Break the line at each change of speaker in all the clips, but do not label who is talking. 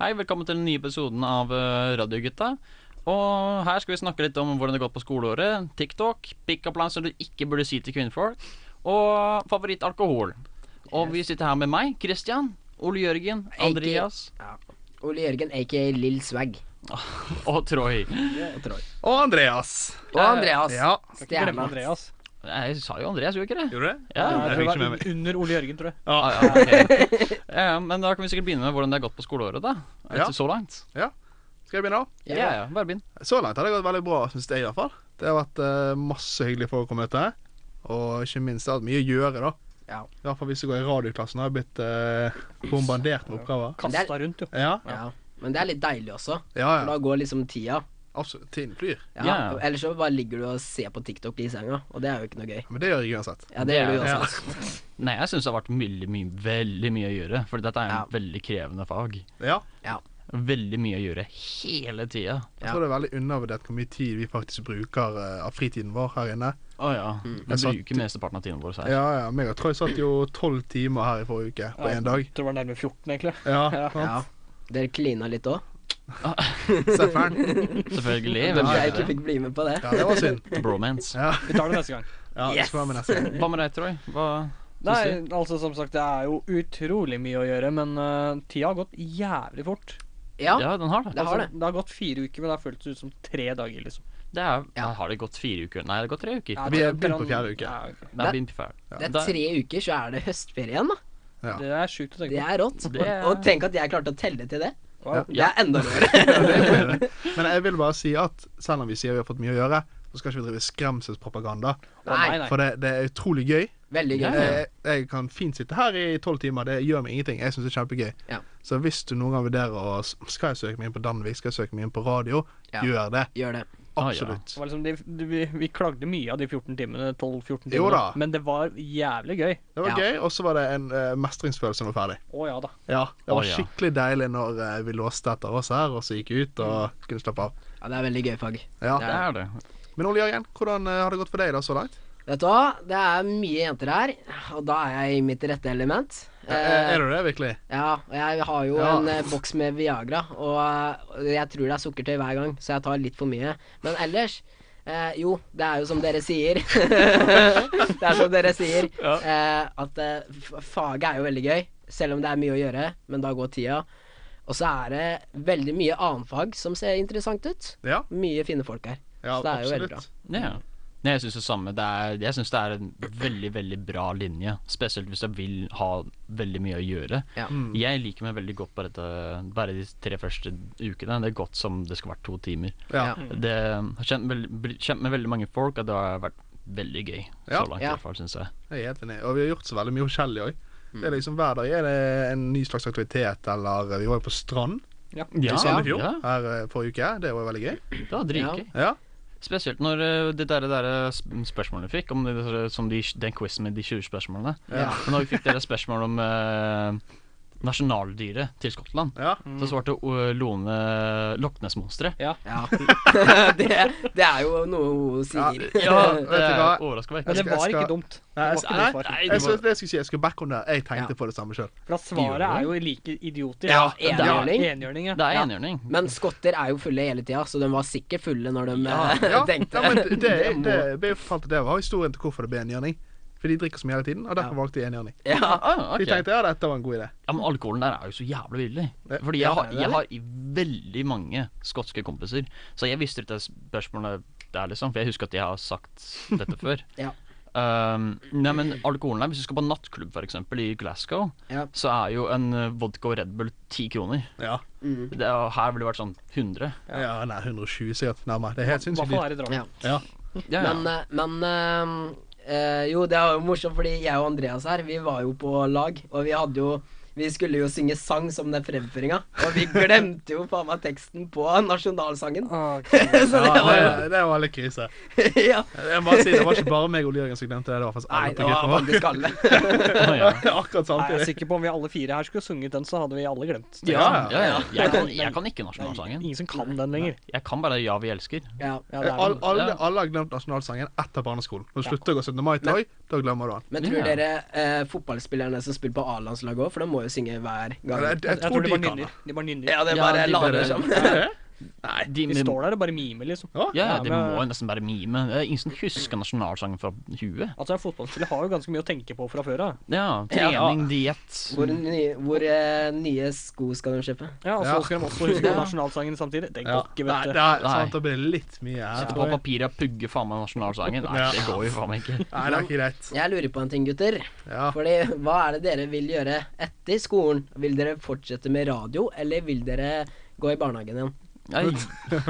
Hei, velkommen til den nye episoden av eh, Radiogutta. Og her skal vi snakke litt om hvordan det går på skoleåret, TikTok, pick-up-lines som du ikke burde si til kvinnfolk, og favorittalkohol. Og vi sitter her med meg, Christian, Ole Jørgen, Andreas
Ole Jørgen, aka Lill Swag.
og Troy.
Og Troy.
Og Andreas.
Og Andreas.
Ja.
Glemme
Stjerna.
Andreas.
Jeg sa jo Andreas, gjorde jeg ikke det?
Gjorde du det?
Ja,
Jeg
jeg
tror
fikk
det
ikke
var
med meg.
un- under Ole Jørgen, tror jeg.
Ah,
Ja.
ja, ok. Eh, Men da kan vi sikkert begynne med hvordan det har gått på skoleåret, da.
Ja.
Etter så langt.
Skal jeg begynne nå?
Ja.
Ja, ja, bare begynn.
Så langt har det gått veldig bra, syns jeg i hvert fall. Det har vært eh, masse hyggelige folk å møte. Og ikke minst har det vært mye å gjøre, da.
Ja.
I hvert fall hvis du går i radioklassen, har jeg blitt eh, bombardert med oppgaver.
Men det er-
Kasta rundt, jo.
Ja,
Ja. Men det er litt deilig også.
ja.
For da
ja.
går liksom tida.
Absolutt. Tiden flyr.
Ja.
Ja.
og Ellers så bare ligger du og ser på TikTok i senga, og det er jo ikke noe gøy.
Men det gjør jeg uansett.
Ja, det gjør du
Ja.
også.
Nei, jeg syns det har vært veldig mye, veldig mye å gjøre, for dette er en
Ja.
veldig krevende fag.
Ja.
Veldig mye å gjøre hele tida.
Jeg tror det er veldig undervurdert hvor mye tid vi faktisk bruker eh, av fritiden vår her inne.
Å ja. Vi
Mm.
Jeg satt-
bruker mesteparten av tiden vår her.
Ja, ja. Meg og Troy satt jo tolv timer her i forrige uke på
Ja.
én dag.
Jeg tror det var nærmere 14, egentlig.
Ja.
Ja.
Ja. Dere klina litt òg.
Sett fæl.
Selvfølgelig. Hvem
Hvem jeg
gjør
ikke
ikke det?
fikk bli med på det.
Ja, det var synd.
Bromance.
Ja,
Vi tar det neste gang.
ja det
Yes.
skal være med neste gang.
Hva med deg, Troy? Hva
Nei, altså som sagt, det er jo utrolig mye å gjøre, men eh, tida har gått jævlig fort.
Ja.
Ja, den har det.
Det har det.
Altså, det har gått fire uker, men det har føltes ut som tre dager, liksom.
Det er,
Ja.
Har det gått fire uker? Nei, det har gått tre uker.
Ja,
Vi
det
er begynt på
mellom-
fjerde uke.
Ja, ok.
Det er begynt på fjerde.
Det er tre uker, så er det høstferie igjen, da.
Ja.
Det er sjukt å
Det
tenke på.
er rått.
Det er-
Og tenk at jeg klarte å telle til det.
Wow.
Det er enda rødere.
Men jeg vil bare si at selv om vi sier vi har fått mye å gjøre, så skal ikke vi drive skremselspropaganda.
Å, Nei, nei.
For det, det er utrolig gøy.
Veldig gøy.
Jeg, jeg kan fint sitte her i tolv timer, det gjør meg ingenting. Jeg syns det er kjempegøy.
Ja.
Så hvis du noen gang vurderer å Skal jeg søke meg inn på Danvik, skal jeg søke meg inn på radio,
Ja.
gjør det.
Gjør det.
Ah, ja.
Absolutt.
Det var liksom de, de, vi, vi klagde mye av de 14 timene, 12-14 timene,
Jo da.
men det var jævlig gøy.
Det var
Ja.
gøy, og så var det en eh, mestringsfølelse når vi var ferdig.
Å ja da.
Ja, Det var
Å, ja.
skikkelig deilig når eh, vi låste etter oss her, og så gikk vi ut og kunne slappe av.
Ja, det er veldig gøy fag.
Ja.
Det er det.
Men Ole Jørgen, hvordan eh, har det gått for deg da så langt?
Vet du hva, det er mye jenter her, og da er jeg i mitt rette element.
eh, er, er du det, virkelig?
Ja, og jeg har jo
Ja.
en eh, boks med Viagra, og eh, jeg tror det er sukkertøy hver gang, så jeg tar litt for mye. Men ellers eh, Jo, det er jo som dere sier. det er som dere sier, eh, at eh, f- faget er jo veldig gøy, selv om det er mye å gjøre, men da går tida. Og så er det veldig mye annenfag som ser interessant ut.
Ja,
Mye fine folk her.
ja
så det er jo veldig
absolutt.
bra.
Ja. Nei, jeg syns det samme. Det er, jeg syns det er en veldig, veldig bra linje. Spesielt hvis jeg vil ha veldig mye å gjøre.
Ja.
Mm.
Jeg liker meg veldig godt på dette bare de tre første ukene. Det er godt som det skal være to timer.
Ja.
Ja.
Det har kjent, veld, bli- kjent med veldig mange folk, og det har vært veldig gøy.
Ja.
Så langt i
Ja.
hvert fall, syns jeg.
Jeg er helt enig. Og vi har gjort så veldig mye forskjellig òg.
Mm.
Det er liksom Hver dag er det en ny slags aktivitet, eller eh, Vi var jo på strand
Ja,
i Sandefjord
ja,
her eh, forrige uke. Det var jo veldig gøy.
det var dritgøy.
Ja.
Spesielt når eh, det der, der sp- spørsmålet vi fikk, om det, der- som de, den quizen med de 20 spørsmålene.
Ja.
Men Når vi fikk dere spørsmål om eh, nasjonaldyret til Skottland,
ja.
så svarte eh, Lone eh, Loknesmonsteret.
Ja. det, det er jo noe hun sier.
Ja,
vet
det
du hva?
overrasker meg
Men
ikke.
det
skal- jeg
var
skal-
ikke dumt.
Nei, jeg
Det
skal,
var ikke
nei,
noe svar.
Nei,
jeg,
det
synes, det jeg skulle si, jeg skulle backe om det. Jeg tenkte
Ja.
på det samme sjøl.
For at svaret
Gjorde
er
det?
jo like idiotisk.
Ja,
det er
enhjørning.
Enhjørning, ja.
det er
Ja.
enhjørning.
Men skotter er jo fulle hele tida, så de var sikkert fulle når de
Ja,
eh,
Ja,
tenkte
ja, men det, det,
Det må-
det ble jo fortalt at det var historien til hvorfor det ble enhjørning. For de drikker så mye hele tiden, og derfor
Ja.
valgte de enhjørning.
Ja.
Ah, ok.
De tenkte ja, dette var en god idé.
Ja, men alkoholen der er jo så jævlig billig.
Ja,
Fordi jeg har,
det er det.
jeg har i veldig mange skotske kompiser, så jeg visste ikke det spørsmålet der, liksom. For jeg husker at jeg har sagt dette før.
Ja.
Um, nei, men alkoholen der, hvis du skal på nattklubb for eksempel i Glasgow,
Ja.
så er jo en eh, vodka og Red Bull ti kroner.
Ja,
Det er, her ville det vært sånn 100.
ja nei, 120 sikkert nærmere. Det er helt
I hvert
sinnssykt
fall
dyrt.
her i Drammen.
Ja.
Ja.
Ja, ja.
Men, eh, men eh, eh, Jo, det er jo morsomt, fordi jeg og Andreas her, vi var jo på lag, og vi hadde jo vi skulle jo synge sang som den fremføringa, og vi glemte jo faen meg teksten på nasjonalsangen.
Ah,
Så
Ja,
det var
det, det var litt krise.
Ja.
Jeg må bare si, Det var ikke bare meg og Ole Jørgen som glemte det. Det var faktisk
Nei,
alle
det
på
var
gruppa.
faktisk alle.
Å, eh, ja.
Akkurat
Nei, jeg er
samtidig.
sikker på om vi alle fire her skulle sunget den, så hadde vi alle glemt.
Ja,
Ja, ja. Jeg, kan, jeg kan ikke nasjonalsangen.
Ingen som kan den lenger.
Jeg kan bare Ja, vi elsker.
Ja.
Ja, det er
Alle,
den.
alle,
Ja.
alle har glemt nasjonalsangen etter barneskolen. Når du slutter å gå 17. mai-tog, da glemmer du den.
Men tror
Ja.
dere eh, fotballspillerne som spiller på A-landslaget òg, for de må jo jo synge hver
Ja,
gang.
Jeg, jeg
Jeg tror de bare
kan det.
nynner. De bare nynner.
Ja, det
Ja,
bare
de
lader
bare-
som.
Ja.
Nei.
De,
De står der og bare mimer, liksom.
Ja.
Ja,
Ja,
de
men-
må jo nesten bare mime. Det er ingen som husker nasjonalsangen fra huet.
Altså, Fotballspillere har jo ganske mye å tenke på fra før av.
Ja, trening, diett
Hvor, nye, hvor eh, nye sko skal de kjøpe?
Ja, og så
Ja.
skal de også huske nasjonalsangen samtidig. Det
Ja.
går ikke,
Nei,
vet
det
du.
er
Nei.
sant, det blir litt mye her,
Sitte på
tror jeg.
papiret og pugge faen meg nasjonalsangen. Nei,
Ja.
det går jo faen meg ikke.
Nei, det er ikke greit.
Jeg lurer på en ting, gutter.
Ja.
Fordi, hva er det dere vil gjøre etter skolen? Vil dere fortsette med radio, eller vil dere gå i barnehagen igjen?
Nei,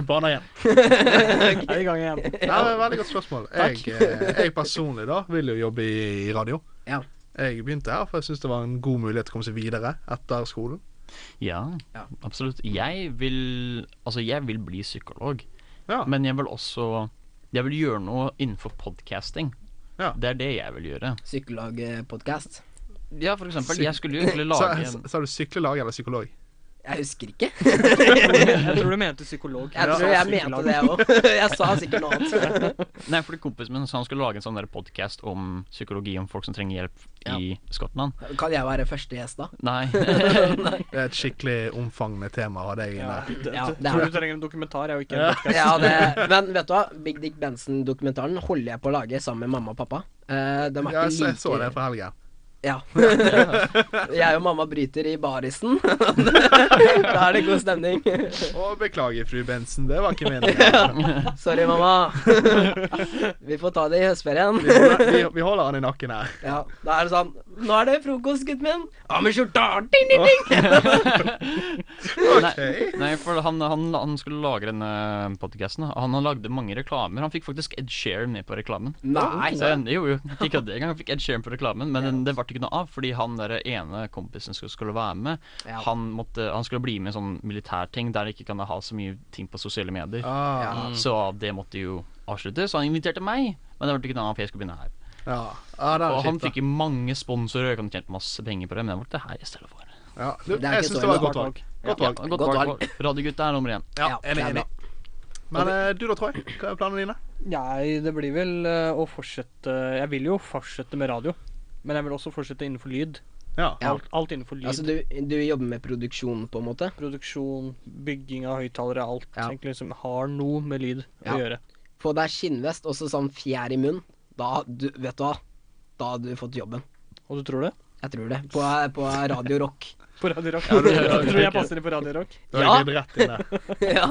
Barna igjen.
Er i gang igjen.
Nei, det er et veldig godt spørsmål. Jeg, eh, jeg personlig da vil jo jobbe i radio.
Ja.
Jeg begynte her, for jeg syntes det var en god mulighet til å komme seg videre etter skolen.
ja,
Ja.
absolutt. Jeg vil Altså, jeg vil bli psykolog,
Ja.
men jeg vil også Jeg vil gjøre noe innenfor podcasting.
Ja.
Det er det jeg vil gjøre.
Psykologpodkast?
Ja, for eksempel.
Psyk-
Jeg skulle jo egentlig
Sa,
lage en
sa du syklelag eller psykolog?
Jeg husker ikke.
Jeg tror du mente psykolog.
Jeg tror jeg mente det, jeg òg. Jeg sa sikkert noe annet.
Nei, fordi kompisen min sa han skulle lage en sånn podkast om psykologi om folk som trenger hjelp i Skottland.
Kan jeg være første gjest, da?
Nei.
Det er et skikkelig omfangende tema å ha deg
Ja,
inne.
det, det,
Ja, det er
tror
det.
du trenger en dokumentar, jeg, og ikke en podcast.
Ja, det, men vet du hva? Big Dick Benson-dokumentaren holder jeg på å lage sammen med mamma og pappa. Eh, de er
Ja,
ikke
jeg, så, jeg
like-
så det for helgen.
Ja. jeg og mamma bryter i barisen. da er det god stemning.
Å, beklager, fru Bensen, det var ikke meningen.
Sorry, mamma. Vi får ta det i høstferien.
Vi holder, vi, vi holder han i nakken her.
Ja, da er det sånn Nå er det frokost, gutten min. Ja, med skjorta! Ding, ding, ding.
Ok.
Nei, for han, han, han skulle lage denne podkasten. Han, han lagde mange reklamer. Han fikk faktisk Ed Sheeran med på reklamen.
Nei.
Så jeg- jo, jo. Ikke kødde engang. Han Fikk Ed Sheeran på reklamen, men den- det ble ikke noe av fordi han der ene kompisen skulle, skulle være med.
Ja.
Han, måtte, han skulle bli med i sånn militærting der de ikke kan ha så mye ting på sosiale medier.
Ah,
Så det måtte jo avsluttes. Så han inviterte meg, men det ble ikke noe av for jeg skulle begynne her.
ja. Ah, det er
Og han
kjipt, da.
fikk jo mange sponsorer, og kan tjent masse penger på det, men det ble det her jeg stedet for.
Ja. Du,
Det er ikke
jeg syns
så
det var et
ille.
godt valg. Godt
Ja,
valg.
godt
Godt
valg. Radiogutta er nummer én.
Ja,
Ja,
enig,
det er
enig.
bra.
Men eh, du da, Troy? Hva er planene dine?
Nei, det blir vel eh, å fortsette Jeg vil jo fortsette med radio. Men jeg vil også fortsette innenfor lyd.
Ja.
Ja.
Alt, alt innenfor lyd.
Altså, du, du jobber med produksjon, på en måte?
Produksjon, bygging av høyttalere, alt
Ja.
egentlig som har noe med lyd
Ja.
å gjøre.
Få deg skinnvest og så sånn fjær i munnen. Da, du, vet du hva, da hadde du fått jobben.
Og du tror det?
Jeg tror det. På, på Radio Rock.
På Radio Rock.
Ja, du-
jeg tror jeg passer inn på Radio Rock.
Da er
Ja.
jeg glidd rett inn der.
ja.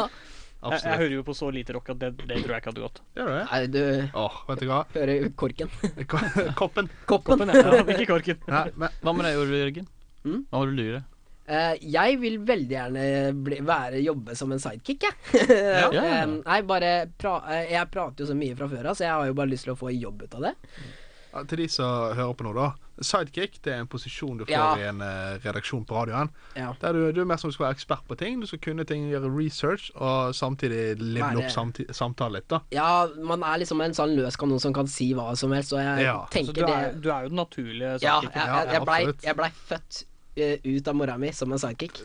Jeg, jeg
Absolutt.
hører jo på så lite rock at det, det tror jeg ikke hadde gått.
Gjør du det?
Nei, du
Åh, vet du hva?
hører korken.
Ko- Koppen.
Koppen.
Koppen, ja. Ikke korken.
Nei, men
Hva med deg, Ole Jørgen?
Mm?
Hva var det du lurer?
Eh, jeg vil veldig gjerne bli, være, jobbe som en sidekick, jeg.
Ja.
Eh, nei, bare pra, eh, Jeg prater jo så mye fra før av, så jeg har jo bare lyst til å få jobb ut av det.
ja, eh, til de som hører på nå, da. Sidekick det er en posisjon du får
Ja.
i en eh, redaksjon på radioen.
Ja.
Der du, du er mer som du skal være ekspert på ting. Du skal kunne ting, gjøre research, og samtidig livne
Være-
opp samti samtalen litt, da.
Ja, man er liksom en sånn løs kanon som kan si hva som helst, og jeg
Ja, så
Så
tenker
du er,
det
du er jo den naturlige
Ja, jeg,
sidekicken.
jeg,
Ja,
jeg blei
absolutt.
jeg blei født eh, ut av mora mi som en sidekick.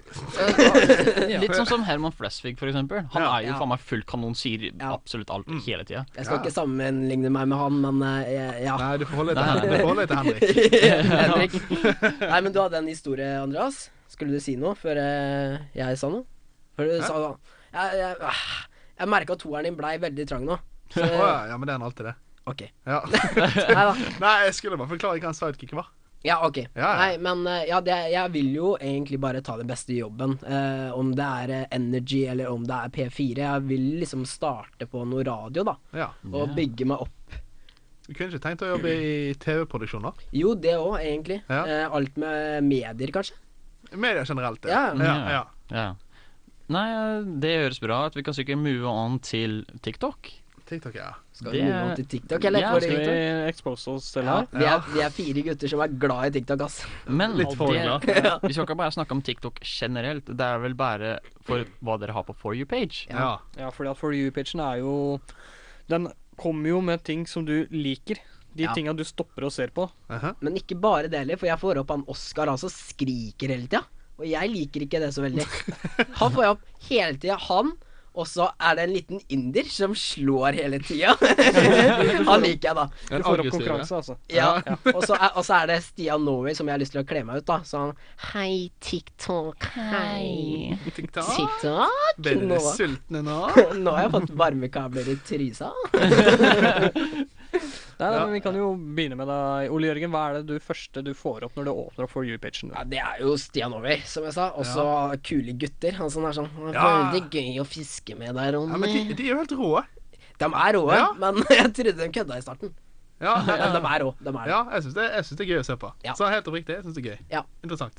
Litt sånn som Herman Flesvig, for eksempel. Han
Ja.
er jo
Ja.
faen meg full kanon, sier
Ja.
absolutt alt hele tida.
Jeg skal
Ja.
ikke sammenligne meg med han, men eh, jeg- ja.
Nei, du får holde deg
Nei,
til,
nei.
Hen- du får holde deg til Henrik.
Henrik. Nei, men du hadde en historie, Andreas. Skulle du si noe før eh, jeg sa noe? Før du
Hæ?
sa noe? Jeg, jeg, ah, jeg merka at toeren din blei veldig trang nå. Så,
Å, ja, ja, men det er han alltid det.
ok.
Ja.
Nei da.
Nei, jeg skulle bare forklare hva en sidekick var.
Ja, ok.
Ja, ja.
Nei, men eh, ja, det, jeg vil jo egentlig bare ta den beste jobben. eh, om det er eh, Energy eller om det er P4. Jeg vil liksom starte på noe radio, da.
Ja.
Og
Ja.
bygge meg opp.
Du kunne ikke tenkt å jobbe i TV-produksjon, da?
Jo, det òg, egentlig.
Ja.
Eh, alt med medier, kanskje.
Media generelt, det.
Ja.
ja, ja.
Ja. Nei, det høres bra ut. Vi kan sikkert move on til TikTok.
TikTok, ja.
Skal
Det-
vi move on til TikTok, eller?
Ja,
Får
skal
Skal
vi-
vi expose oss selv
Ja,
her?
vi er, vi er fire gutter som er glad i TikTok, ass.
Men
Litt for
det,
glad.
vi skal ikke bare snakke om TikTok generelt. Det er vel bare for hva dere har på For you-page.
Ja.
Ja.
Ja, fordi at For you-pitchen er jo Den kommer jo med ting som du liker. De
Ja.
tinga du stopper og ser på.
Aha.
Men ikke bare det heller, for jeg får opp han Oskar, han som skriker hele tida. Og jeg liker ikke det så veldig. Han får jeg opp hele tida. Han Og så er det en liten inder som slår hele tida. Han liker jeg, da.
Du
En
får opp
aggressiv,
konkurranse, altså.
Ja. Og så er, og så er det Stian Norway som jeg har lyst til å kle meg ut, da. Så han Hei, TikTok. Hei.
TikTok.
TikTok?
Veldig
Nå.
sultne nå.
Nå har jeg fått varmekabler i trysa.
Nei, nei,
Ja.
men Vi kan jo begynne med deg. Ole Jørgen, hva er det du første du får opp når du åpner opp for E you-pagen?
Ja, det er jo Stian Over, som jeg sa. Og så kule gutter. Han som er sånn «Det er
Ja.
Veldig gøy å fiske med deg, Ronny.
Ja, men de, de er jo helt rå.
De er rå,
Ja.
men jeg trodde de kødda i starten.
Ja,
Men
ja,
de er rå. De er rå.
ja jeg syns det, jeg synes det er gøy å se på.
Ja.
Så helt oppriktig, jeg syns det er gøy.
Ja.
Interessant.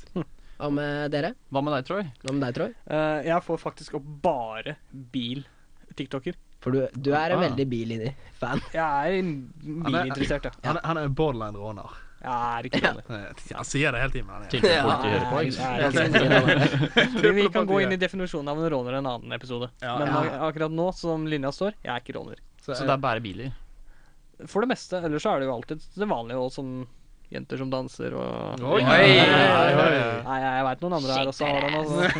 Hva med dere?
Hva med deg, Troy?
Hva med deg, Troy?
Eh, jeg får faktisk opp bare bil-tiktoker.
For du, du er en
Ah.
veldig billinjer-fan.
Jeg er en bilinteressert, ja.
Han, er- han er en borderline råner.
Jeg er ikke det.
Eh, Han sier det hele tiden. Han er.
Tydelig
Ja.
politiet hører på.
Nei,
ikke sant?
nei,
Jeg
nei.
synes-
Vi, vi kan gå inn i definisjonen av en råner i en annen episode.
Ja.
Men
Ja.
ak- akkurat nå, som linja står, jeg er ikke råner.
Så,
Så det er bare biler.
For det meste. Ellers så er det jo alltid det vanlige, og som jenter som danser og
Oi,
Nei,
oi,
oi.
Nei, jeg veit noen andre her også har den. Altså.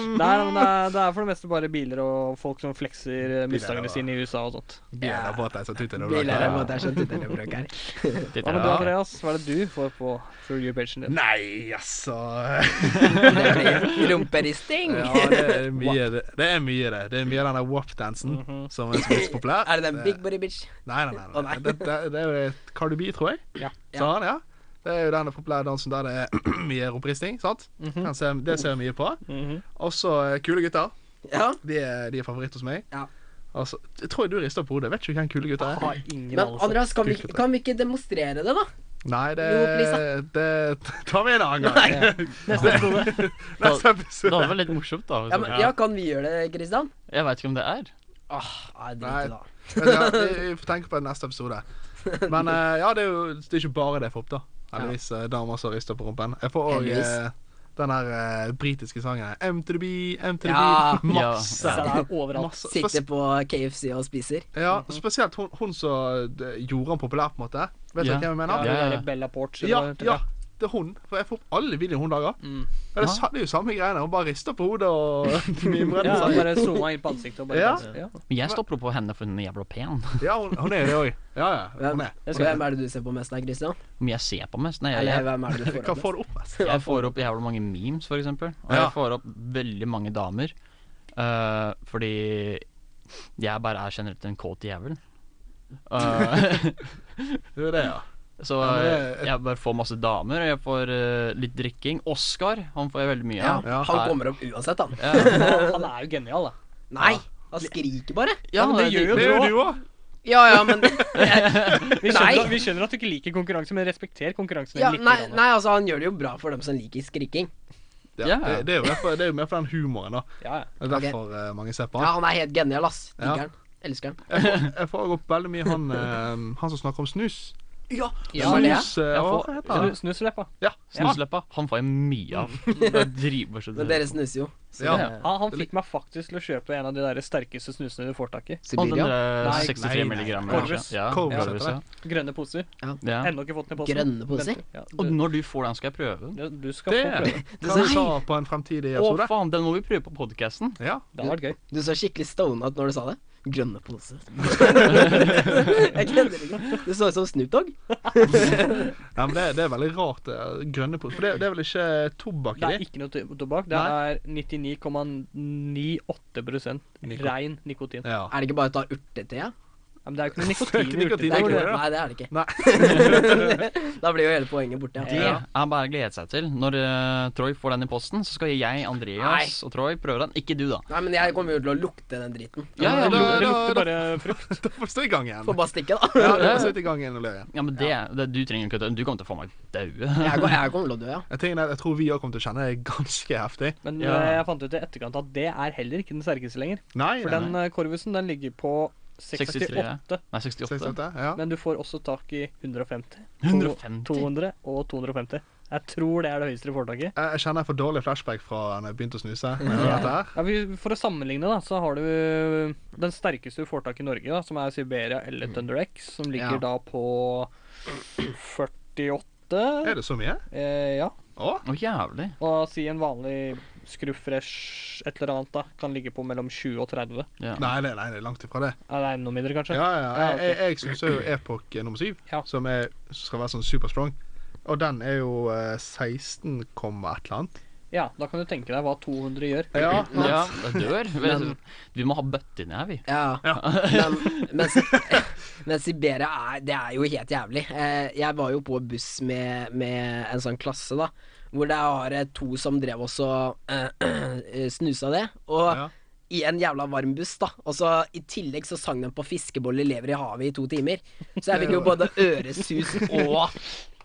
Mm. Nei, men det, er, det er for det meste bare biler og folk som flekser eh, Mustangene
da.
sine i USA og sånt.
Biler og båter som tuter og
Biler er
bråker.
rå, det er sånn tutelebråk her.
Titter
Hva med du,
der.
Andreas? Hva er det du får på for you-pagen din?
Nei, altså
Det blir rumperisting.
Ja, det er mye, det. Det er mye, det. Det er mye av den der wap-dansen som er så mye populær.
Mhm. Er det den big body bitch?
Nei, nei, nei. nei.
Å, nei.
Det, det, det er jo et Cardi B, tror jeg.
Ja.
Sa han, ja. Det er jo den populære dansen der det er mye rumperisting. sant?
Mhm.
Den ser, det ser jeg mye på.
Mhm.
Også eh, kule gutter.
Ja.
De er, de er favoritt hos meg.
Ja.
Altså, jeg tror du rister på hodet. Vet ikke hvem kule gutter
Jeg
er.
har ingen
Men
anelse.
Andreas, kan vi, kan vi ikke demonstrere det, da?
Nei, det,
Jo, please,
det tar vi en annen gang.
Neste episode.
Neste
Det hadde
episode.
vært litt morsomt, da. hvis
Ja,
det-
men, ja kan vi gjøre det, Kristian?
Jeg veit ikke om det er.
Åh, nei,
Nei.
drit i det.
Vet du hva, Vi vi får tenke på det i neste episode. Men eh, ja, det er jo det er ikke bare det jeg får opp, da. Heldigvis eh, damer som rister på rumpen. Jeg får òg
Heldigvis.
den her eh, britiske sangen M to the bee, M to the
Ja.
bee. Masse.
Så det er overalt.
masse.
Sitter
Spes
på KFC og spiser.
ja, spesielt hun, hun som eh, gjorde han populær, på en måte. Vet du
Ja.
hvem jeg
Ja,
mener?
det
Ja, ja.
der Bella Porch.
Ja,
eller
ja,
hva heter det?
det er hun. For jeg får opp alle videoene hun lager.
Mm.
Ja, det, er sa- det er jo samme greiene. Hun bare rister på hodet og mimrer.
Ja,
Ja,
bare zooma inn på ansiktet og bare
Ja.
danse. Ja.
Men jeg stopper opp på henne for hun er jævla pen.
ja hun, hun er jo det òg. Ja, ja.
Hvem,
Hun er.
Jeg skal-
hvem er det du ser på mest da, Kristian?
Om jeg ser på mest? Nei, jeg,
Eller
jeg,
hvem er det du får
Hva
opp mest?
får du opp altså? mest?
jeg får opp jævla mange memes, for eksempel. Og
Ja.
jeg får opp veldig mange damer. eh, fordi jeg bare er generelt en kåt jævel. Eh,
Det er det, ja.
så
Ja, men det er-
jeg bare får masse damer, og jeg får eh, litt drikking. Oscar, han får jeg veldig mye
Ja,
av.
Ja.
han kommer opp uansett, han.
Ja.
Han er jo genial, da.
Nei, han skriker bare.
Ja,
men det gjør jo
Det er jo du òg.
Ja, ja, men
Vi
Nei.
skjønner, at, vi skjønner at du ikke liker konkurranse, men respekter konkurransen
ja,
litt.
nei,
grann, da.
nei, altså, han gjør det jo bra for dem som liker skriking.
Ja,
Ja.
Det, det, er jo mer for, det er jo mer for den humoren, da.
Ja, ja.
Det er derfor eh, mange ser på
Ja,
han.
han er helt genial, ass.
Ja.
Digger han. Elsker han.
Jeg får, jeg får opp veldig mye han, eh, han som snakker om snus.
Ja,
Ja,
det er.
snus, eh,
Jeg
hva
får-
heter
Snu-
det?
Snusleppa.
Ja.
Snusleppa, han får jeg mye av. Det er dritmorsomt.
Men dere snuser jo.
Ja.
Ja.
Han, han fikk meg faktisk til å kjøpe en av de der sterkeste snusene du får tak i.
Og den
Sibiria.
der
Nei,
63
nei, nei.
milligram.
Corvus.
Ja,
Corvus heter
Corvus, ja.
Grønne poser.
ja.
Ennå ikke fått den i posten.
Grønne poser?
Vent, Ja,
Og
du,
når du får den, skal jeg prøve den.
du skal få
Det
prøve.
kan vi ta på en fremtidig
Å,
episode.
faen, den må vi prøve på podkasten.
Ja.
Det hadde vært gøy.
Du så skikkelig stona ut når du sa det. Grønne pose. Jeg kødder ikke. Du så ut som Snoop Dogg.
Nei, men det, det er veldig rart, det grønne poser. For det, det er vel ikke tobakk
Det
i
er
de?
ikke noe to- tobakk. Det er 99,98 rein nikotin.
Ja.
Er det ikke bare å ta urtetea?
Ja, Men det er jo ikke noe
Det er
nikotin i
ikke
urter.
nikotin,
Det er jo
ikke det.
det.
Nei, det er det ikke.
Nei.
Da blir jo hele poenget borte.
Det
Ja.
er bare å glede seg til. Når eh, Troy får den i posten, så skal jeg, Andreas og Troy prøve den. Ikke du, da.
Nei, men jeg kommer jo til å lukte den driten.
Ja,
Ja,
ja, men,
Det
da-
lukter- det lukter bare frukt.
Da får du stå i gang igjen.
Får bare stikke, da.
Ja, da får du stå i gang igjen og løye.
ja, men det, det Du trenger ikke å Du kommer til å få meg daue.
Jeg, går, jeg kommer til å dø, ja.
Jeg, tenker, jeg tror vi òg kommer til å kjenne det ganske heftig.
Men
Ja.
eh, jeg fant ut i etterkant at det er heller ikke den sterkeste lenger.
Nei,
For
nei,
den eh, korvusen den ligger på
63,
68,
Nei,
nei.
68.
68, ja.
men du får også tak i 150.
150?
200 og 250. Jeg tror det er det høyeste du får tak i.
Jeg jeg kjenner jeg får dårlig flashback fra da jeg begynte å snuse. Når jeg hører dette her.
Ja, vi- for å sammenligne, da, så har du øh, den sterkeste du får tak i i Norge, da, som er Siberia eller Thunder X, som ligger
Ja.
da på 48
Er det så mye?
eh, Ja.
Å?
Å, jævlig.
Og si en vanlig Screwfresh et eller annet da, kan ligge på mellom 20 og 30.
Ja.
Nei, nei, nei, det er langt ifra det.
Ja, det er enda mindre, kanskje.
Ja, ja.
Ja,
Jeg,
ok.
jeg, jeg syns jo Epoch eh, nummer 7,
Ja.
som er, skal være sånn superstrong, og den er jo eh, 16, komma et eller annet.
Ja, da kan du tenke deg hva 200 gjør.
Ja,
ja, det dør. Vi,
Men-
vi må ha bøtte inni her, vi.
Ja. Men, men, men Siberia er, det er jo helt jævlig. Eh, Jeg var jo på buss med, med en sånn klasse, da. Hvor det var eh, to som drev også eh, snusa det. Og
Ja.
i en jævla varm buss, da. Og så i tillegg så sang de på 'Fiskeboller lever i havet' i to timer. Så jeg fikk jo både øresus og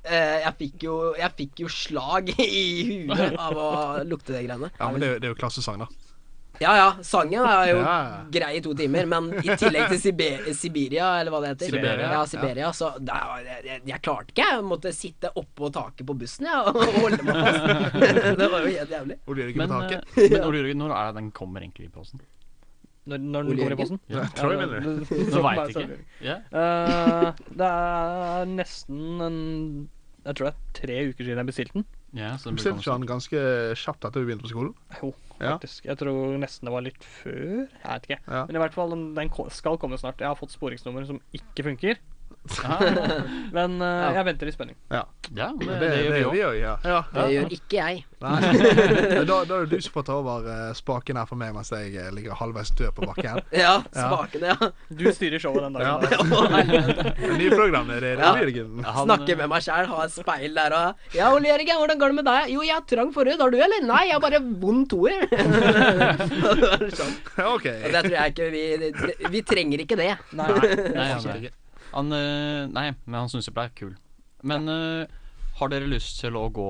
eh, jeg, fikk jo, jeg fikk jo slag i huet av å lukte det greiene.
Ja, men det, er jo- det er jo klassesang, da.
Ja ja, sangen er jo
Ja, ja.
grei i to timer, men i tillegg til Siber Siberia, eller hva det heter
Siberia.
Ja, Siberia, så der, var- jeg, jeg, jeg klarte ikke, jeg måtte sitte oppå taket på bussen jeg, og holde meg fast. det var jo helt jævlig.
Oljelykke
Men,
på
eh,
taket.
men Ole Jørgen, når er det den kommer egentlig i posten?
Når, når den
Ole
går i
Jørgen?
posten.
Ja,
Troy Miller.
Nå veit jeg ikke. Ja.
Eh, det er nesten en Jeg tror det er tre uker siden jeg bestilte den.
Ja, så det blir
Bestilte ikke han ganske kjapt etter vi begynte på skolen?
Jo,
Ja.
faktisk. Jeg tror nesten det var litt før. Jeg vet ikke.
Ja.
Men i hvert fall, den, den ko- skal komme snart. Jeg har fått sporingsnummer som ikke funker.
konstant.
Men eh,
Ja.
jeg venter i spenning.
sånn. Ja, det,
Det,
det gjør vi
jo
òg.
vi òg. Ja. Ja.
Det gjør ikke jeg.
Nei. Men Da, da er det du som får ta over eh, spaken her for meg mens jeg eh, ligger halvveis død på bakken.
Ja, spakene, ja.
Du styrer showet den dagen.
Ja.
Å, helvete.
Nye programleder,
Ja.
Jørgen.
Snakke med meg sjæl, ha et speil der og Ja, Ole Jørgen, hvordan går det med deg? Jo, jeg er trang forhud. Har du, eller? Nei, jeg er bare vond toer. Det var sånn.
OK.
Og det tror jeg ikke vi det- Vi trenger ikke det.
Nei,
Nei, han, han, eh, nei, men han syns jeg ble kul. Men eh, har dere lyst til å gå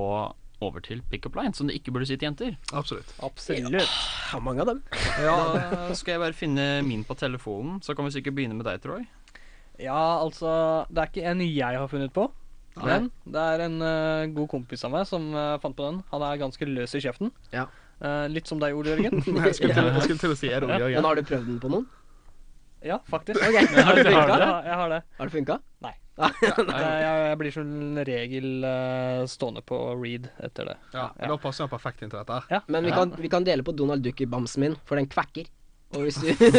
over til pick-up line, som det ikke burde si til jenter?
Absolutt.
absolutt.
Ja, mange av dem.
Da skal jeg bare finne min på telefonen, så kan vi sikkert begynne med deg, Troy.
Ja, altså Det er ikke en jeg har funnet på. Men det er en eh, god kompis av meg som eh, fant på den. Han er ganske løs i kjeften.
Ja.
Eh, litt som deg, Ole Jørgen.
Jeg skulle til, jeg skulle til å si er det Ole
Men
Jørgen.
har du prøvd den på noen?
ja, faktisk.
Ok, Har det
Jeg har
funka?
det. Jeg har det.
Har det funka?
Nei.
Nei.
Eh, Jeg, jeg blir som regel eh, stående på read etter det.
Ja, men Da passer han perfekt inn til dette. her.
Men vi kan, vi kan dele på Donald Duck i bamsen min, for den kvekker. Og hvis du, hvis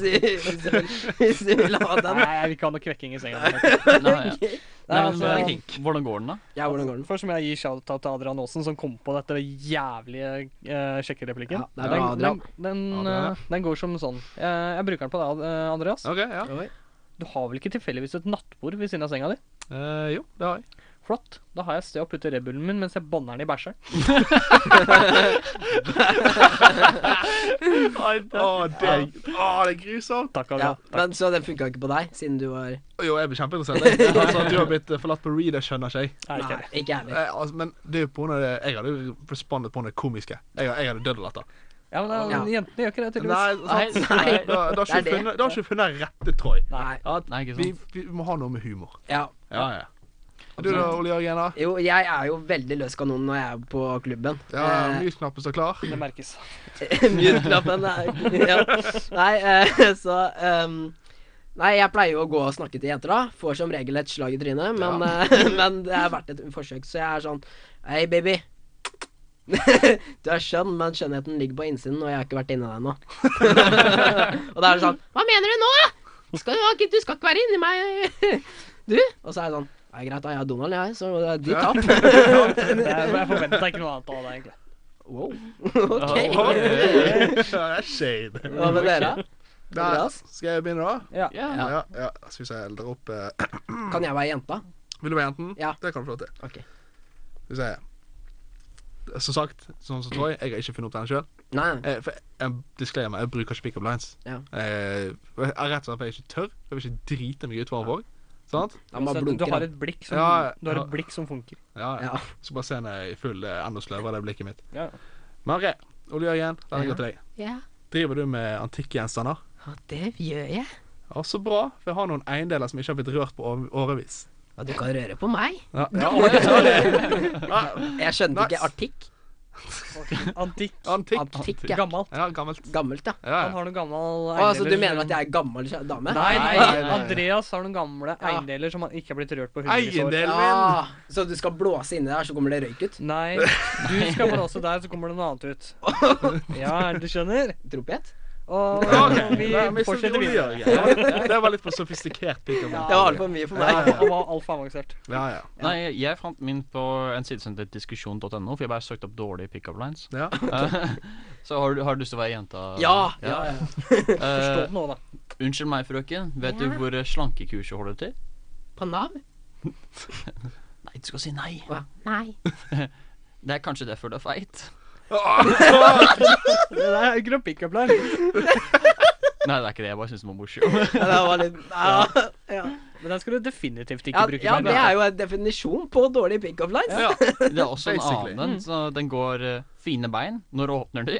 du, hvis du, hvis du vil ha den
Nei, jeg vil ikke ha noe kvekking i senga.
Nei, ja.
Nei,
nei, men,
altså,
eh, hvordan går den, da?
Ja, hvordan går den?
Først må jeg gi shout-out til Adrian Aasen, som kom på dette jævlige eh, sjekkereplikken.
Ja, det er bra,
den,
Adrian.
den, den,
Adrian, ja.
eh, den går som sånn. Eh, jeg bruker den på deg, eh, Andreas.
OK, ja.
Oi.
Du har vel ikke tilfeldigvis et nattbord ved siden av senga di?
Eh, jo, det har jeg.
Flott. Da har jeg et sted å putte Red Bullen min mens jeg banner den i bæsjeren.
Å, det, er- å, det er grusomt!
Takk,
Ja,
Adrian. Takk.
men så den funka ikke på deg, siden du var
Jo, jeg blir kjempeinteressert. jeg. Altså, at du har blitt eh, forlatt på read, det skjønner ikke jeg.
Nei, ikke
Nei,
heller.
ikke ærlig.
Eh, altså, men det er jo på grunn av det Jeg hadde jo respondet på det komiske. Jeg, jeg hadde dødd av latter.
ja, men eh, jentene gjør ikke det, tydeligvis.
Nei, sant?
Nei, nei.
Da,
Det
da har
er det.
ikke funnet, da har ikke funnet rette Troy.
Nei.
Ja,
Nei, ikke
vi,
sant.
vi må ha noe med humor.
Ja.
Ja, ja. Du da, Ole Jørgen? da?
Jo, jeg er jo veldig løs kanon når jeg er på klubben.
Ja,
Eh,
Mute-knappen står klar.
Det merkes.
Mute-knappen er ja. Nei, eh, så ehm, Nei, jeg pleier jo å gå og snakke til jenter, da. Får som regel et slag i trynet, men, eh, men det er verdt et forsøk. Så jeg er sånn Hei, baby. Du er skjønn, men skjønnheten ligger på innsiden, og jeg har ikke vært inni deg ennå. og da er det sånn Hva mener du nå? Skal du, ha ikke- du skal ikke være inni meg, du? Og så er det sånn Ja, greit, da. Jeg er Donald, jeg, så de
Ja.
taper.
Jeg, jeg forventa ikke noe annet av deg, egentlig.
wow.
Ja,
OK.
Ja, Shade.
Hva med dere?
Da,
Andreas?
skal jeg begynne, da?
Ja.
Ja.
Ja.
Ja, ja. Skal vi se, jeg drar opp eh,
Kan jeg være jenta?
Vil du være jenten?
Ja.
Det kan du få lov til.
Ok.
Skal vi se. Som sagt, sånn som Troy, jeg har ikke funnet opp den sjøl.
Nei.
Eh, for jeg, disclaimer, jeg bruker ikke pickup lines.
Ja.
Eh, jeg er rett og slett fordi jeg ikke tør. Jeg vil ikke drite meg ut foran folk. Sant?
Han bare
Altså, du,
blunker.
du har
han.
et blikk som,
Ja,
du har
ja.
et blikk som funker.
Ja, ja.
Ja.
Så bare se henne i full eh, enda sløvere, det blikket mitt.
Ja.
Men OK, Ole Jørgen, den er
Ja.
god til deg.
ja.
Driver du med antikkgjenstander?
Ja, det gjør jeg.
Ja, så bra. For jeg har noen eiendeler som ikke har blitt rørt på åre- årevis.
Ja, du kan røre på meg.
Ja, ja, oi, sorry.
Jeg skjønte
Nice.
ikke artikk.
Antikk.
Antikk.
Antikk, ja.
Gammelt.
Ja, gammelt.
Gammelt, ja.
Ja,
Han
ja.
har noen gammel
Å, så du mener at jeg er gammel kjæ- dame?
Nei, nei,
Nei, nei, nei.
Andreas har noen gamle
Ja.
eiendeler som han ikke har blitt rørt på hundrevis av år.
Eiendelen min!
Ja, Ah, så du skal blåse inni der, så kommer det røyk ut?
Nei, du skal blåse der, så kommer det noe annet ut. Ja, du skjønner?
Trompet?
Og
Ok,
vi
nei, men så
fortsetter
rolig,
videre.
ja. Ja, Det var litt for sofistikert. Peter.
Ja.
Det var altfor mye for meg.
Ja,
Han var altfor avansert.
Ja, ja.
Nei, jeg fant min på en side som heter diskusjon.no, for jeg bare søkte opp dårlige pickup lines.
ja.
Eh, Så har du, har du lyst til å være jenta?
Ja, ja, ja.
Forstå
Eh,
det nå, da.
unnskyld meg, frøken. Vet du hvor eh, slankekurset holder til?
På Nav?
Nei, du skal si nei.
Å, Nei.
Det er kanskje derfor du er feit.
Det der er ikke noe pickup-line.
Nei, det er ikke det. Jeg bare syns den var morsom.
Ja, det var litt Ja, ja.
Men den skal du definitivt ikke
ja,
bruke.
ja
mer.
det er jo en definisjon på dårlige pick-up lines.
ja.
Det er også en
Basically.
annen en. så Den går eh, fine bein når du åpner de.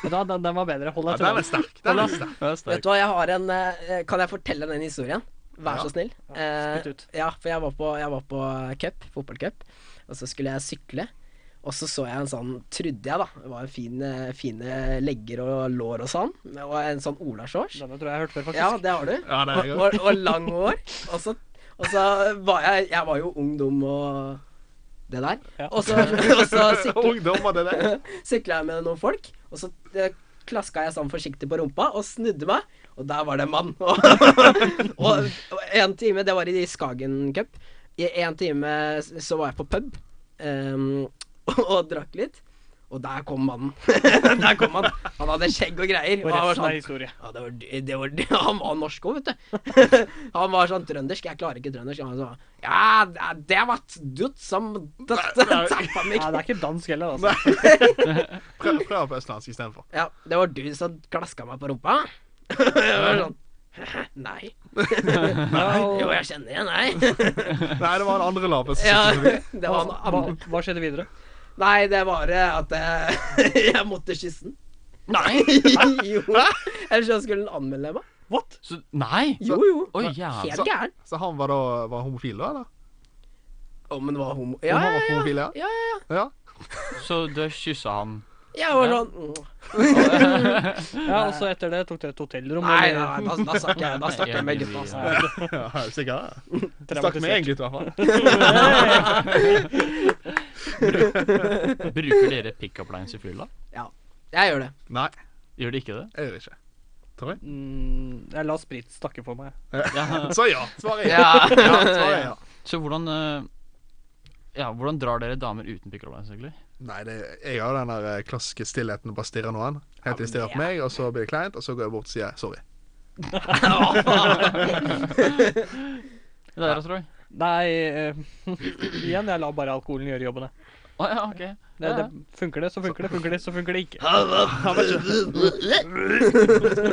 Men da, den, den var bedre. Hold
Ja,
deg til
Den er sterk. Den er sterk.
Det er
Vet
sterk.
du hva, jeg har en eh, Kan jeg fortelle den historien? Vær
Ja.
så snill.
Ja,
Eh,
spytt ut.
ja, for jeg var på, jeg var på cup, fotballcup, og så skulle jeg sykle. Og så så jeg en sånn, trodde jeg da, det var en fin, eh, fine legger og lår og sånn, og en sånn olashorts.
Denne tror jeg jeg har hørt før, faktisk.
Ja, det har du.
Ja, det er jeg
og, og, og lang hår. Og så, og så var jeg Jeg var jo ung, dum og det der.
Ja.
Og så, og så sykla,
Ungdommer, det der.
sykla jeg med noen folk, og så eh, klaska jeg sånn forsiktig på rumpa og snudde meg, og der var det en mann. Og, og, og en time Det var i Skagen Cup. I en time s- så var jeg på pub ehm, og, og drakk litt. Og der kom mannen. der kom han. Han hadde skjegg og greier.
Og
han var
resten
sånn-
er historie.
ja, det var, det var, han var norsk òg, vet du. Han var sånn trøndersk. Jeg klarer ikke trøndersk. Han sa Ja, det- det var dutt som tappa
Nei, det
meg.
er ikke dansk heller, altså.
Prøv, prøv på østlandsk istedenfor.
Ja, det var du som klaska meg på rumpa. Jeg var sånn «Hæ? Nei. Jo,
Nei.
jeg kjenner igjen, nei.
Nei, det var en andre lape. som
Ja,
sitter forbi.
det
Hva,
var han
hva,
andre.
hva skjedde videre?
Nei, det var eh, at eh, jeg måtte kysse den. Nei! Jo. Ellers så skulle han anmelde meg.
What?
Så Nei!
Jo, jo.
Oi, jævla
Helt gæren.
Så han var da var homofil, da? eller?
Om han var homo.
Om
Ja,
han
ja,
var
ja.
homofil, ja.
ja, ja, ja.
ja.
Så du kyssa han.
Jeg var
Ja.
sånn «Mm,
Ja, og så etter det tok dere et hotellrom?
Nei,
eller-
nei, altså, nei, da, da snakker jeg, da snakker jeg med gutta. Altså.
Nei,
ja er du sikker? Ja. Snakk med
traumatisert.
én gutt, i hvert fall.
Bruker dere pickup lines i fylla?
Ja, jeg gjør det.
Nei,
Gjør de ikke det?
jeg gjør ikke. Tror jeg.
Mm, jeg la sprit snakke for meg.
Så ja. Svaret er ja.
Ja.
ja, svaret er ja.
Så hvordan eh, Ja, hvordan drar dere damer uten pickup lines, egentlig?
Nei, det, jeg har jo den der eh, klassiske stillheten og bare stirrer noen. Helt til de stirrer på
Ja.
meg, og så blir det kleint, og så går jeg bort og sier sorry.
Det der, tror jeg.
Nei, eh, igjen, jeg lar bare alkoholen gjøre jobben. jeg.
Å ja, ok.
Det, det funker det, så funker det. Funker det, så funker det ikke.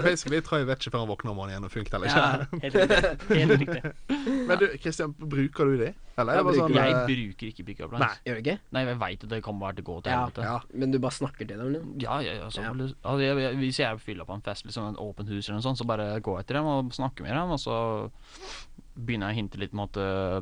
Basically, Troy vet ikke før han våkner om morgenen igjen og funker eller ikke.
Helt riktig. Helt riktig.
Men du, Kristian, bruker du de? Eller er
Jeg
det bare sånn
Jeg
eh,
bruker ikke pickup lines.
Gjør du ikke?
Nei, jeg veit at det kommer bare til å gå til
Ja.
helvete.
Ja.
Men du bare snakker til dem? liksom.
Ja, ja, ja, så,
Ja.
Altså, jeg, jeg, Hvis jeg er på fylla på en fest, liksom en åpent hus eller noe sånt, så bare går jeg etter dem og snakker med dem, og så begynner jeg å hinte litt om at uh,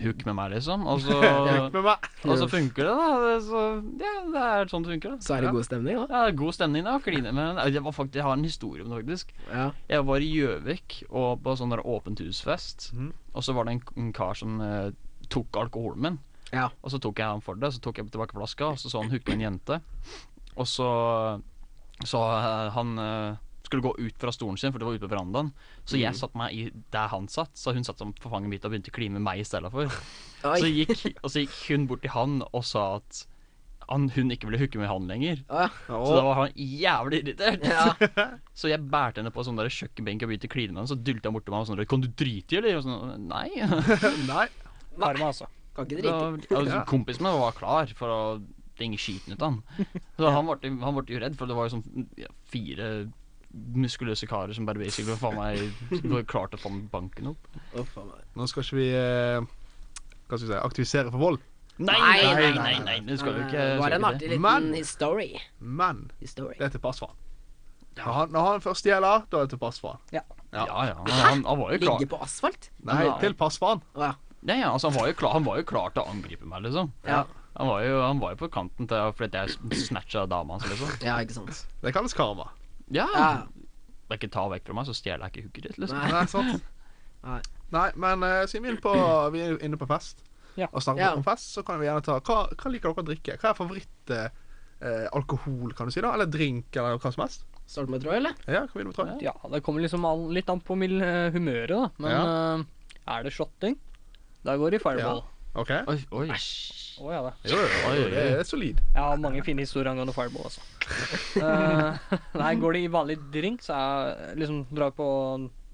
Hook med meg, liksom. Og så,
Hukk med meg.
og så funker det, da. Det, er så, ja, det er sånn det funker, da.
Så er det
Ja.
god stemning, da.
Ja, det er god stemning da, å kline med Nei, jeg, var faktisk, jeg har en historie om det, faktisk.
Ja.
Jeg var i Gjøvik og på sånn der åpent husfest,
Mhm.
og så var det en, en kar som eh, tok alkoholen min.
Ja.
Og så tok jeg han for det, så tok jeg tilbake flaska, og så så han hooke en jente. Og så Så eh, han eh, skulle gå ut fra stolen sin, for det var ute på verandaen. Så jeg
Mm.
satte meg i der han satt, så hun satt som på fanget mitt og begynte å kline med meg i stedet for. Så
Oi.
gikk, og så gikk hun bort til han og sa at han, hun ikke ville hooke med han lenger.
Å,
Så da var han jævlig irritert.
ja. ja.
Så jeg bærte henne på sånn der kjøkkenbenk og begynte å kline med henne. Så dylte han bort til meg og sånn 'Kan du drite i, eller?' Og sånn Nei.
Nei.
Karma, altså.
Kan ikke
Da,
drite.
altså, kompisen min var klar for å ringe skiten ut av han. Så han ble, han ble jo redd, for det var jo sånn ja, fire muskuløse karer som bare basically faen meg var klar til å få med banken opp.
Å, faen meg.
Nå skal ikke vi eh, Hva skal vi si aktivisere for vold,
Nei, nei,
Nei,
nei,
nei,
nei, nei, det skal jo ikke
Eh, Det var
skal ikke
en
det.
artig liten
Men-
history.
men
History.
det er til pass for han. Når han, når han først stjeler, da er det til pass for han.
Ja, ja, han, han var jo klar.
Ligge på asfalt?
Nei,
Nei.
til pass for han.
Å ja.
Nei, ja, altså, han, var jo klar han var jo klar til å angripe meg, liksom.
ja.
Han var jo, han var jo på kanten til fordi jeg snatcha dama hans, liksom.
Ja, ikke sant.
Det kalles karma.
Ja,
Ja,
Bare ikke ta vekk fra meg, så stjeler jeg ikke hooket ditt, liksom.
nei.
Nei, sant?
Nei.
Nei, men eh, siden vi er inne på, vi er jo inne på fest,
Ja.
og snakker
Ja.
om fest, så kan vi gjerne ta Hva, hva liker dere å drikke? Hva er favoritt eh, eh, alkohol, kan du si, da? Eller drink, eller hva som helst?
Starte med tråd, eller?
Ja, kan vi begynne med Trond?
Ja, det kommer liksom an, litt an på mil, eh, humøret, da. Men eh, er det shotting? Da går det i fireball.
OK?
Oi, oi.
Å ja da.
Jo, jo, jo,
Oi, oi,
det
oi.
er solid.
Jeg har mange fine historier angående fireball, altså. Eh, nei, går det i vanlig drink, så er liksom dra på,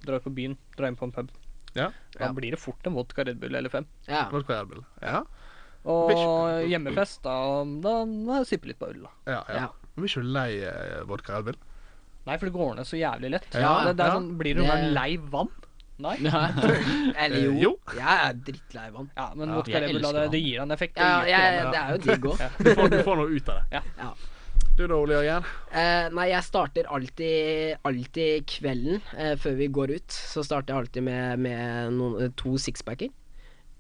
dra på byen, dra inn på en pub.
Ja.
Da
Ja.
blir det fort en vodka Red Bull eller fem.
Ja.
Vodka Red Bull. Ja,
Og
Bish.
hjemmefest, da, da, da sippe litt på øl, da.
ja. ja.
Ja.
Men blir ikke du lei eh, vodka Red Bull?
Nei, for det går ned så jævlig lett.
Ja,
det, det er
ja.
sånn, blir du
Det-
bare lei vann? Nei.
Eller
Eh,
jo.
jo.
Jeg er drittlei vann.
Ja, men
Ja.
vodka
Jeg
Red Bull, da,
elsker
det,
vann.
det gir en effekt.
Ja,
det gir ikke
jeg, det er jo digg òg.
Du får, du får noe ut av det.
Ja.
Ja.
Du da, Ole Jørgen?
Eh, nei, jeg starter alltid, alltid kvelden eh, før vi går ut. Så starter jeg alltid med, med noen, to sixpacker.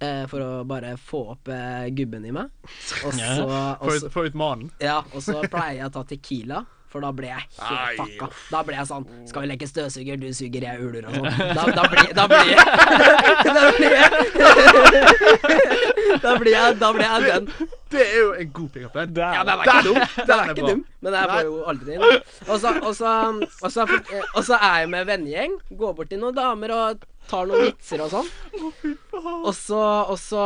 Eh, for å bare få opp eh, gubben i meg. Og så, og
Få
så,
ut- Få ut mannen.
ja, og så pleier jeg å ta Tequila. For da ble jeg
Ai,
helt fucka. Da ble jeg sånn Skal vi leke støvsuger, du suger, jeg uler og sånn. Da, da blir da blir jeg Da blir jeg Da blir jeg, da blir jeg den.
Det er jo en god pickup, den.
Det er
Ja,
det.
den er ikke dum. Den er
bra.
ikke dum, men jeg får jo aldri til. Og så, og, så, og, så, og så er jeg med vennegjeng, går bort til noen damer og tar noen vitser og sånn. Og så, og så,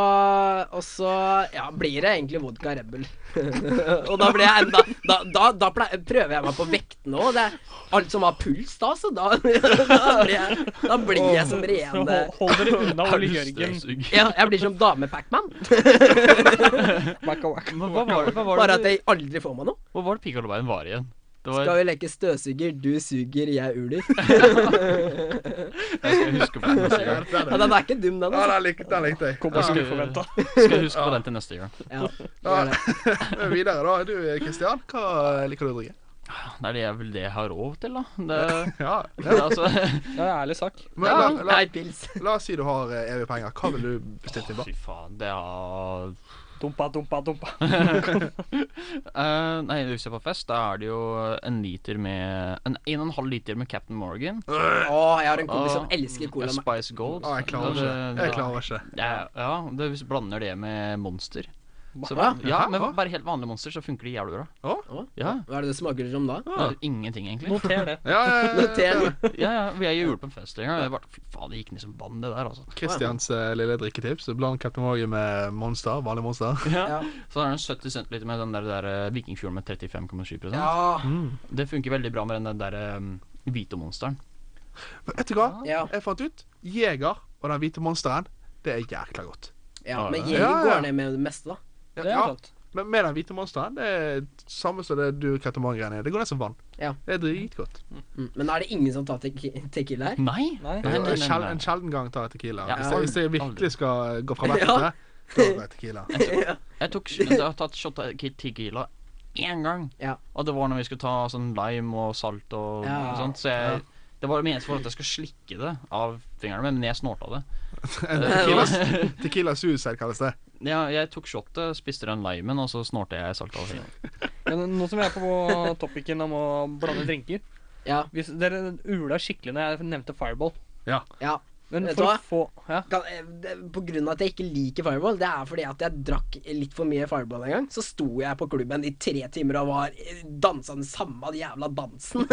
og så ja, blir det egentlig vodka Red Bull. og da blir jeg enda Da, da, da plei- prøver jeg meg på vektene òg. Det er alt som har puls da, så da, da, blir, jeg, da blir jeg som
Så
rene
hold, hold dere unna
Er du
Ole Jørgen.
støvsug?
ja, Jeg blir som dame-Pacman,
Wacka, wacka.
Men hva var det, hva var
bare
det,
at jeg aldri får meg noe.
hva var det pikkolobein var igjen? Det var,
Skal vi leke støvsuger, du suger, jeg uler.
jeg skal huske på det neste
Ja,
gang.
Ja,
den
den er ikke dum, den.
ja,
Altså.
den likte, den likte jeg.
Kom
Ja.
på uforventa.
Skal jeg huske på den til neste gang.
Ja,
Ja.
gjør det.
Men Eh, videre, da. Du Kristian, hva liker du å drikke?
Det er det jeg, vel det jeg har råd til, da. Det,
Ja,
det er altså
Det er en ærlig sak.
men
Ja,
la, la,
Nei, pils.
la oss si du har eh, evige penger. Hva vil du bestilt inn
Å,
på?
Fy faen, det er
Dumpa, dumpa, dumpa.
Eh, Nei, hvis jeg er på fest, da er det jo en liter med En, en og en halv liter med Captain Morgan.
Å, jeg har en kompis som elsker cola. med-
Spice Gold.
Å, Ah, jeg klarer ikke. Jeg klarer ikke.
Ja, ja det, hvis du blander det med monster så,
Hva?
Ja, men
Hæ?
bare helt vanlige monster, så funker det jævlig bra.
Å?
Ja,
Hva er det det smaker som da?
det er Ingenting, egentlig.
Noter det.
Ja, ja, ja, ja.
Noter.
Ja, ja, Jeg gjorde det på en fest en gang. og jeg bare, Fy faen, det gikk ned som vann, det der, altså.
Kristians eh, lille drikketips. Bland Captain Morgan med Monster. Vanlig Monster.
Ja.
Så er det en 70 centiliter med den der, der Vikingfjorden med 35,7
Ja.
Mm.
Det funker veldig bra med den der, der um, hvite monsteren.
Men Vet du hva?
Ja,
Jeg fant ut Jeger og den hvite monsteren, det er jækla godt.
ja. Men
Ja,
Jeger
ja.
går ned med det meste, da.
Det er
Ja,
sant.
men med den hvite monsteren, det er samme som det du Captain Morgan er. Det går ned som vann.
Ja.
Det er dritgodt.
Mm. Men er det ingen som tar tequi- tequila her?
Nei!
Nei.
Eh,
Nei,
En
nei, nei,
sjel-
nei.
en sjelden gang tar jeg Tequila.
Ja,
hvis, jeg,
aldri.
hvis jeg virkelig skal gå fra vettet,
Ja.
da tar jeg Tequila.
Jeg tok Jeg har tatt shot av tequila én gang.
Ja.
Og det var når vi skulle ta sånn lime og salt og
Ja.
sånt. Så jeg, det var meningen for at jeg skulle slikke det av fingrene mine, men jeg snorta det.
En Eh, tequila, tequila suicide kalles det.
Ja, jeg tok shotet, spiste den limen, og så snorta jeg salt av fingrene.
Men nå som vi er på topicen om å blande drinker
Ja.
hvis Dere ula skikkelig når jeg nevnte fireball.
ja.
Men
Vet du
for å
hva?
få ja.
Kan, eh, det- på grunn av at jeg ikke liker fireball, det er fordi at jeg drakk litt for mye fireball en gang. Så sto jeg på klubben i tre timer og var eh, dansa den samme jævla dansen.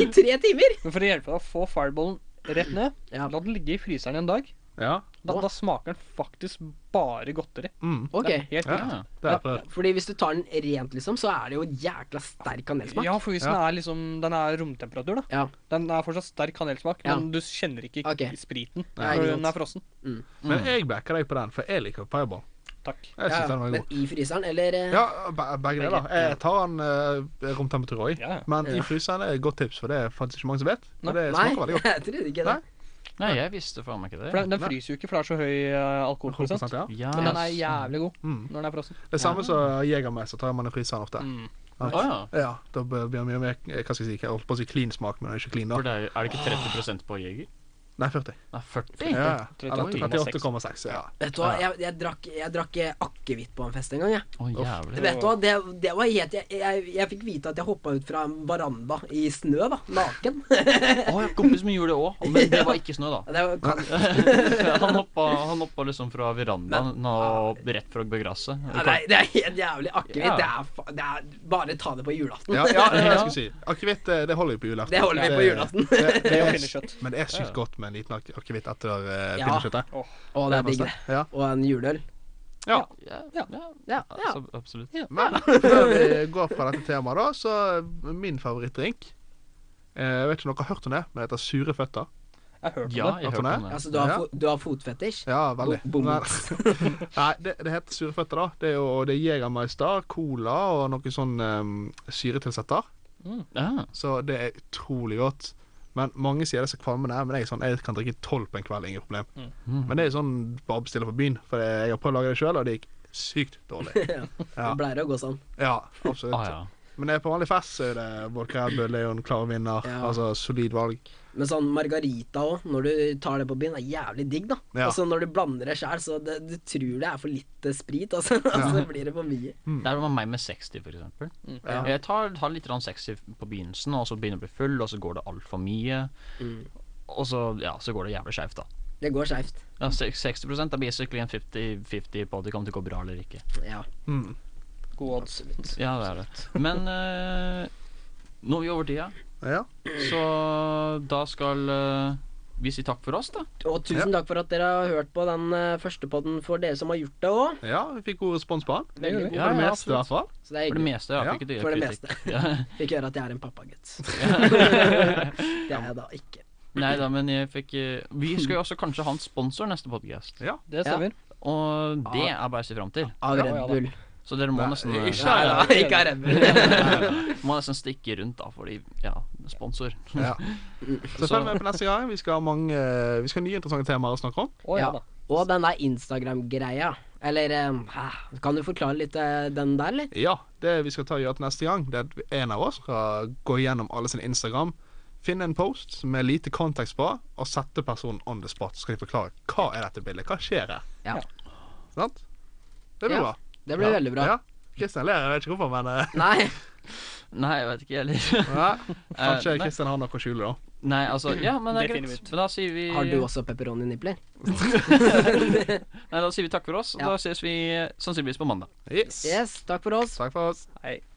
I tre timer!
Men for å hjelpe deg å få fireballen rett ned,
Ja.
la den ligge i fryseren en dag.
Ja.
Da,
Hva?
da smaker den faktisk bare godteri.
Mm.
Det
Ok.
er helt
Ja.
vilt.
Ja.
Det har jeg prøvd.
Fordi hvis du tar den rent, liksom, så er det jo jækla sterk kanelsmak.
Ja, for hvis den er liksom Den er romtemperatur, da.
Ja.
Den er fortsatt sterk kanelsmak,
Ja.
men du kjenner ikke
Ok.
spriten.
Nei,
for
ikke
den
sant.
er frossen.
Men jeg backer deg på den, for jeg liker fireball.
Takk.
Mm.
Jeg syns
Ja,
den var
men
god.
i fryseren, eller eh,
Ja, be- begge deler.
Begge, ja.
Jeg tar den eh, romtemperatur òg.
Ja, ja.
Men i
Ja.
fryseren er et godt tips, for det er faktisk ikke mange som vet. Og
Nei,
det smaker veldig godt.
jeg trodde ikke det.
Nei.
Nei, jeg visste faen meg ikke
For
det.
den, den
Nei.
fryser jo ikke, for det er så høy eh, alkoholprosent.
Prosent, ja.
Ja,
Men den er jævlig god
Mm.
når den er frossen.
Det samme som Jegermeister tar man i fryseren ofte.
Mm.
Å ja.
Ja, Da blir det mye mer eh, hva skal jeg si, jeg holdt på å si clean smak, men det er ikke clean,
For
da.
det er, er det ikke 30 på Jeger?
Nei, 40.
Nei, 40?
Ja, ja. Eller
38,6.
38,6. Ja.
Vet du hva, jeg, jeg drakk, jeg drakk eh, akevitt på en fest en gang, jeg.
Å, jævlig.
Vet du hva, det, det var helt Jeg, jeg, jeg fikk vite at jeg hoppa ut fra en veranda i snø, da. Naken.
Å, jeg har kompis som gjorde det òg, men det var ikke snø, da.
Det var, kan,
Han hoppa, han hoppa liksom fra verandaen og rett fra gresset.
Ja, nei, det er helt jævlig akevitt.
Ja.
Det, er fa- det er bare ta det på julaften.
Ja, ja, det er det jeg skulle si. Akevitt, eh, det, det holder vi på julaften.
Det holder vi på julaften.
Det, det, det
Det å
er,
finne kjøtt.
men det er sykt
Ja.
godt med en liten ak- akevitt etter uh,
Ja.
pinnekjøttet.
Åh.
Å, det er digg, det.
Ja.
Og en juleøl.
Ja.
Ja,
Ja.
ja,
Ja, ja.
altså, absolutt.
Men før vi går fra dette temaet, da, så eh, min favorittdrink eh, Jeg vet ikke om dere har hørt om det, men det heter sure føtter.
Jeg har hørt om
Ja,
det.
jeg
Hørte
hørte om
du
det.
Altså, du har,
Ja.
fo du har fotfetisj?
Ja, veldig.
Bo- bom.
Men- Nei, det, det heter sure føtter, da. Det er jo det er Jegermeister, cola og noe sånn em, syretilsetter.
Ja.
Så det er utrolig godt. Men Mange sier det er så kvalmende, men jeg er sånn, jeg kan drikke tolv på en kveld. ingen problem.
Mm.
Men det er sånn bare bestille på byen, for jeg har prøvd å lage det sjøl, og det gikk sykt dårlig. Ja.
Det pleier å gå sånn.
Ja, absolutt.
Ah, ja.
Men det er på vanlig fest så er det vodka, Red Leon, klar vinner.
Ja.
Altså solid valg.
Men sånn margarita òg, når du tar det på byen, er jævlig digg, da.
Ja.
Altså når du blander det sjæl, så det, du tror det er for lite sprit, altså. altså det blir det for mye.
Det er jo med meg med 60, for eksempel.
Mm.
Ja.
Jeg tar, tar litt grann 60 på begynnelsen, og så begynner jeg å bli full, og så går det altfor mye.
Mm.
Og så, ja, så går det jævlig skeivt, da.
Det går skeivt.
Ja, se- 60 er basically en 50-50 på at det kommer til å gå bra eller ikke.
Ja.
Mm.
God odds.
Ja, det er det. Men eh, nå er vi over tida,
Ja.
så da skal eh, vi si takk for oss, da.
Og tusen takk for at dere har hørt på den eh, første podden for dere som har gjort det òg.
ja, vi fikk god respons på han.
Det gjør vi.
For det meste, i
absolutt.
hvert fall.
Så det er
For det
hyggelig.
meste. Ja,
Ja,
fikk ikke
for det
kritikk. Ja.
Fikk høre at jeg er en pappagutt. det er jeg da ikke.
Nei da, men jeg fikk eh, Vi skal jo også kanskje ha en sponsor neste podkast,
Det stemmer.
og det er bare å se fram til.
Av
Ja,
Red
ja da.
Bull.
Så dere må nesten eh,
Nei, ikke
Nei da, ikke av Red Bull.
Må nesten stikke rundt, da, fordi Ja, sponsor.
Ja. Så
Så-
følg med på neste gang. Vi skal ha, mange, vi skal ha nye interessante temaer å snakke om.
Å ja
Ja.
da.
Og den der Instagram-greia. Eller eh, hæ, Kan du forklare litt eh, den der, eller?
Ja, det vi skal ta og gjøre til neste gang, det er at en av oss skal gå gjennom alle sin Instagram, finne en post med lite kontekst på, og sette personen on the spot. Så skal de forklare hva er dette bildet, hva skjer her?
Ja.
Sant? Det blir
Ja,
bra.
Det ble
Ja.
veldig bra.
Ja. Kristian ler, jeg vet ikke hvorfor, men eh,
Nei.
Nei, jeg vet ikke, jeg heller.
ja. Kanskje
Eh, nei.
Kristian har noe å skjule, da.
Nei, altså Ja, men det er
Det finner vi
greit. Men da sier vi
Har du også pepperoni-nipler?
Nei, da sier vi takk for oss, og
Ja.
da ses vi eh, sannsynligvis på mandag.
Yes.
Yes, takk for oss.
Takk for oss.
Hei.